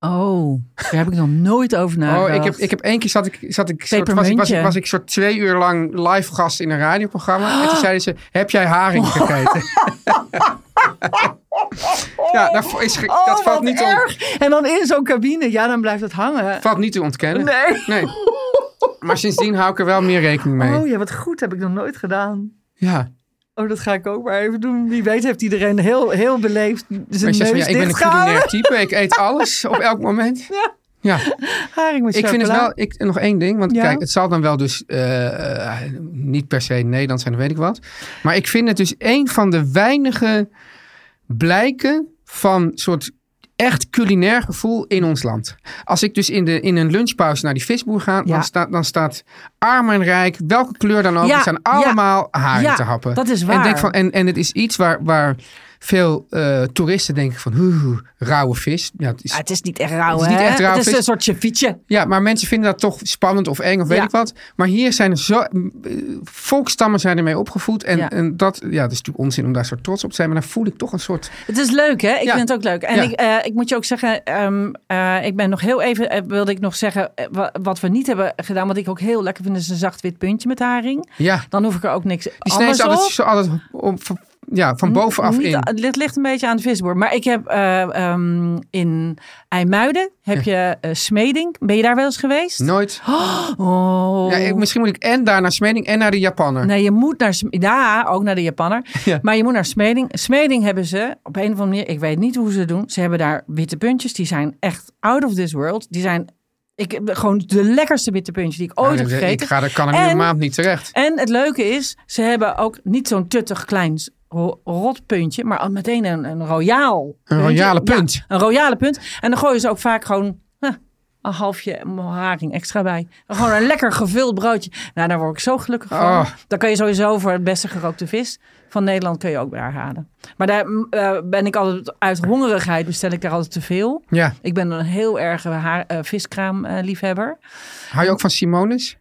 Speaker 5: Oh, daar heb ik nog nooit over nagedacht.
Speaker 4: oh, ik heb, ik heb één keer zat ik, zat ik, soort, was, ik, was, ik,
Speaker 5: Pepermuntje.
Speaker 4: was ik soort twee uur lang live gast in een radioprogramma. En toen zeiden ze, heb jij haring
Speaker 5: Oh.
Speaker 4: gegeten? ja, dat, is, ge-
Speaker 5: Oh,
Speaker 4: dat valt
Speaker 5: wat
Speaker 4: niet, on,
Speaker 5: erg. En dan in zo'n cabine, ja, dan blijft het hangen.
Speaker 4: valt niet te ontkennen.
Speaker 5: Nee.
Speaker 4: Nee. Maar sindsdien hou ik er wel meer rekening mee.
Speaker 5: Oh ja, wat goed, heb ik nog nooit gedaan.
Speaker 4: ja.
Speaker 5: Oh, dat ga ik ook maar even doen. Wie weet heeft iedereen heel, heel beleefd
Speaker 4: Maar
Speaker 5: zijn
Speaker 4: je zegt van, ja,
Speaker 5: neus
Speaker 4: ik ben een
Speaker 5: dichtgehouden.
Speaker 4: culinair type. Ik eet alles op elk moment.
Speaker 5: Ja.
Speaker 4: ja.
Speaker 5: Haring met
Speaker 4: Ik vind het
Speaker 5: chocola.
Speaker 4: wel, ik, nog één ding, want
Speaker 5: Ja?
Speaker 4: kijk, het zal dan wel dus eh, eh, niet per se Nederlands zijn, weet ik wat. Maar ik vind het dus een van de weinige blijken van soort echt culinair gevoel in ons land. Als ik dus in, de, in een lunchpauze naar die visboer ga,
Speaker 5: Ja.
Speaker 4: dan, staat, dan staat arm en rijk, welke kleur dan ook,
Speaker 5: Ja,
Speaker 4: die staan
Speaker 5: ja.
Speaker 4: allemaal haring
Speaker 5: Ja,
Speaker 4: te happen.
Speaker 5: dat is
Speaker 4: En,
Speaker 5: waar.
Speaker 4: denk van, en, en het is iets waar, waar veel eh, toeristen denken van, "Oeh, rauwe vis. Ja, het is
Speaker 5: Ja, het is niet echt rauw,
Speaker 4: Het is niet
Speaker 5: hè?
Speaker 4: echt rauw
Speaker 5: Het is
Speaker 4: vis.
Speaker 5: een soort ceviche.
Speaker 4: ja, maar mensen vinden dat toch spannend of eng of weet
Speaker 5: Ja.
Speaker 4: ik wat. Maar hier zijn er zo... eh, Volkstammen zijn ermee opgevoed. En,
Speaker 5: Ja.
Speaker 4: en dat, ja, dat is natuurlijk onzin om daar zo trots op te zijn. Maar dan voel ik toch een soort...
Speaker 5: Het is leuk, hè? Ik
Speaker 4: Ja.
Speaker 5: vind het ook leuk. En
Speaker 4: Ja.
Speaker 5: ik, eh, ik moet je ook zeggen, ehm, eh, ik ben nog heel even, eh, wilde ik nog zeggen, eh, wa- wat we niet hebben gedaan, wat ik ook heel lekker vind, is een zacht wit puntje met haring.
Speaker 4: Ja,
Speaker 5: Dan hoef ik er ook niks
Speaker 4: die snijden
Speaker 5: anders
Speaker 4: ze
Speaker 5: op.
Speaker 4: altijd, zo altijd op- van- ja, van bovenaf
Speaker 5: Niet-
Speaker 4: in.
Speaker 5: Het ligt een beetje aan de visboer. Maar ik heb eh, ehm, in IJmuiden, heb je eh, smeding. Ben je daar wel eens geweest?
Speaker 4: Nooit.
Speaker 5: Oh.
Speaker 4: Ja, ik- misschien moet ik en daar naar Smeding en naar de Japanner.
Speaker 5: Nee, je moet naar... Sm- Ja, ook naar de Japanner.
Speaker 4: Ja.
Speaker 5: Maar je moet naar Smeding. Smeding hebben ze op een of andere manier... Ik weet niet hoe ze het doen. Ze hebben daar witte puntjes. Die zijn echt out of this world. Die zijn ik, gewoon de lekkerste witte puntjes die ik ooit heb
Speaker 4: ik,
Speaker 5: gegeten.
Speaker 4: ga, er- kan er nu
Speaker 5: En-
Speaker 4: een maand niet terecht.
Speaker 5: En het leuke is, ze hebben ook niet zo'n tuttig klein ro- rot puntje, maar al meteen een, een royaal. puntje.
Speaker 4: royale punt.
Speaker 5: Ja, een royale punt. En dan gooien ze ook vaak gewoon huh, een halfje haring extra bij. Gewoon een lekker gevuld broodje. Nou, daar word ik zo gelukkig van.
Speaker 4: Oh.
Speaker 5: Dan kan je sowieso voor het beste gerookte vis van Nederland kun je ook daar halen. Maar daar mm, eh, ben ik altijd uit hongerigheid bestel ik daar altijd te veel.
Speaker 4: Ja.
Speaker 5: Ik ben een heel erg viskraamliefhebber.
Speaker 4: Hou je ook van Simonis?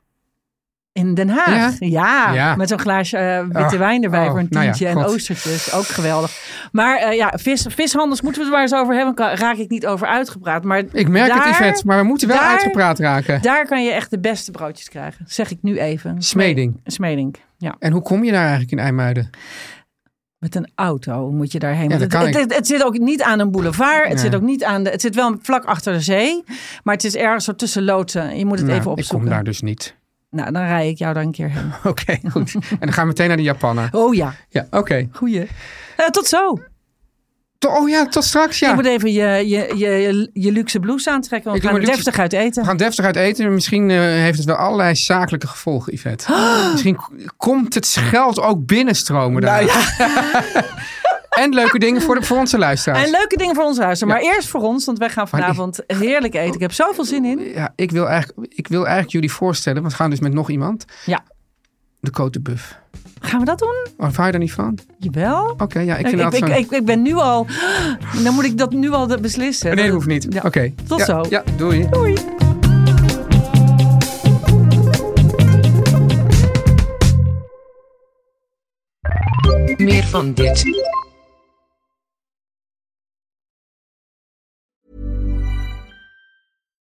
Speaker 5: In Den Haag, ja.
Speaker 4: Ja.
Speaker 5: Met zo'n glaasje eh, witte
Speaker 4: Ah,
Speaker 5: wijn erbij
Speaker 4: oh,
Speaker 5: voor een
Speaker 4: nou ja,
Speaker 5: tientje. en
Speaker 4: God.
Speaker 5: oostertjes, ook geweldig. Maar eh, ja, vis, vishandels moeten we het maar eens over hebben. Kan- Raak ik niet over uitgepraat. Maar
Speaker 4: Ik merk het,
Speaker 5: Daar-
Speaker 4: Yvette, maar we moeten wel
Speaker 5: daar-
Speaker 4: uitgepraat raken.
Speaker 5: daar kan je echt de beste broodjes krijgen. Zeg ik nu even.
Speaker 4: Smeding.
Speaker 5: Smeding, ja.
Speaker 4: En hoe kom je daar eigenlijk in IJmuiden?
Speaker 5: Met een auto moet je daarheen.
Speaker 4: Ja,
Speaker 5: Want
Speaker 4: dat
Speaker 5: het,
Speaker 4: kan
Speaker 5: het, het zit ook niet aan een boulevard. Het
Speaker 4: Nee.
Speaker 5: zit ook niet aan de. Het zit wel vlak achter de zee. Maar het is ergens zo tussen loodsen. Je moet het
Speaker 4: Nou,
Speaker 5: even
Speaker 4: ik kom
Speaker 5: opzoeken.
Speaker 4: daar dus niet.
Speaker 5: Nou, dan rij ik jou dan een keer heen.
Speaker 4: Oké, goed. En dan gaan we meteen naar de Japanner.
Speaker 5: Oh ja,
Speaker 4: Ja, oké.
Speaker 5: goeie. Eh, tot zo.
Speaker 4: To- Oh ja, tot straks,
Speaker 5: Je
Speaker 4: ja.
Speaker 5: moet even je, je, je, je luxe blouse aantrekken. Want we
Speaker 4: Ik doe
Speaker 5: gaan
Speaker 4: mijn luxe-
Speaker 5: deftig uit eten.
Speaker 4: We gaan deftig uit eten. Misschien eh, heeft het wel allerlei zakelijke gevolgen, Yvette. Misschien k- komt het geld ook binnenstromen
Speaker 5: Nou
Speaker 4: daar. en leuke dingen voor, de, voor onze luisteraars.
Speaker 5: En leuke dingen voor ons luister. Maar eerst voor ons, want wij gaan
Speaker 4: Maar ik-
Speaker 5: vanavond heerlijk eten. Ik heb zoveel zin in.
Speaker 4: ja, ik, wil eigenlijk, ik wil eigenlijk jullie voorstellen, want we gaan dus met nog iemand.
Speaker 5: Ja.
Speaker 4: De Côte de Buff.
Speaker 5: Gaan we dat doen?
Speaker 4: Of hou je daar niet van?
Speaker 5: Jawel.
Speaker 4: Oké, ja, Oh, ik
Speaker 5: Ik,
Speaker 4: vind
Speaker 5: ik,
Speaker 4: dat
Speaker 5: ik,
Speaker 4: zo...
Speaker 5: ik, ik ben nu al... Dan moet ik dat nu al de- beslissen.
Speaker 4: Nee, dat hoeft niet.
Speaker 5: Ja.
Speaker 4: Oké.
Speaker 5: Tot
Speaker 4: Ja,
Speaker 5: zo.
Speaker 4: Ja, doei.
Speaker 5: Doei.
Speaker 6: Meer van dit.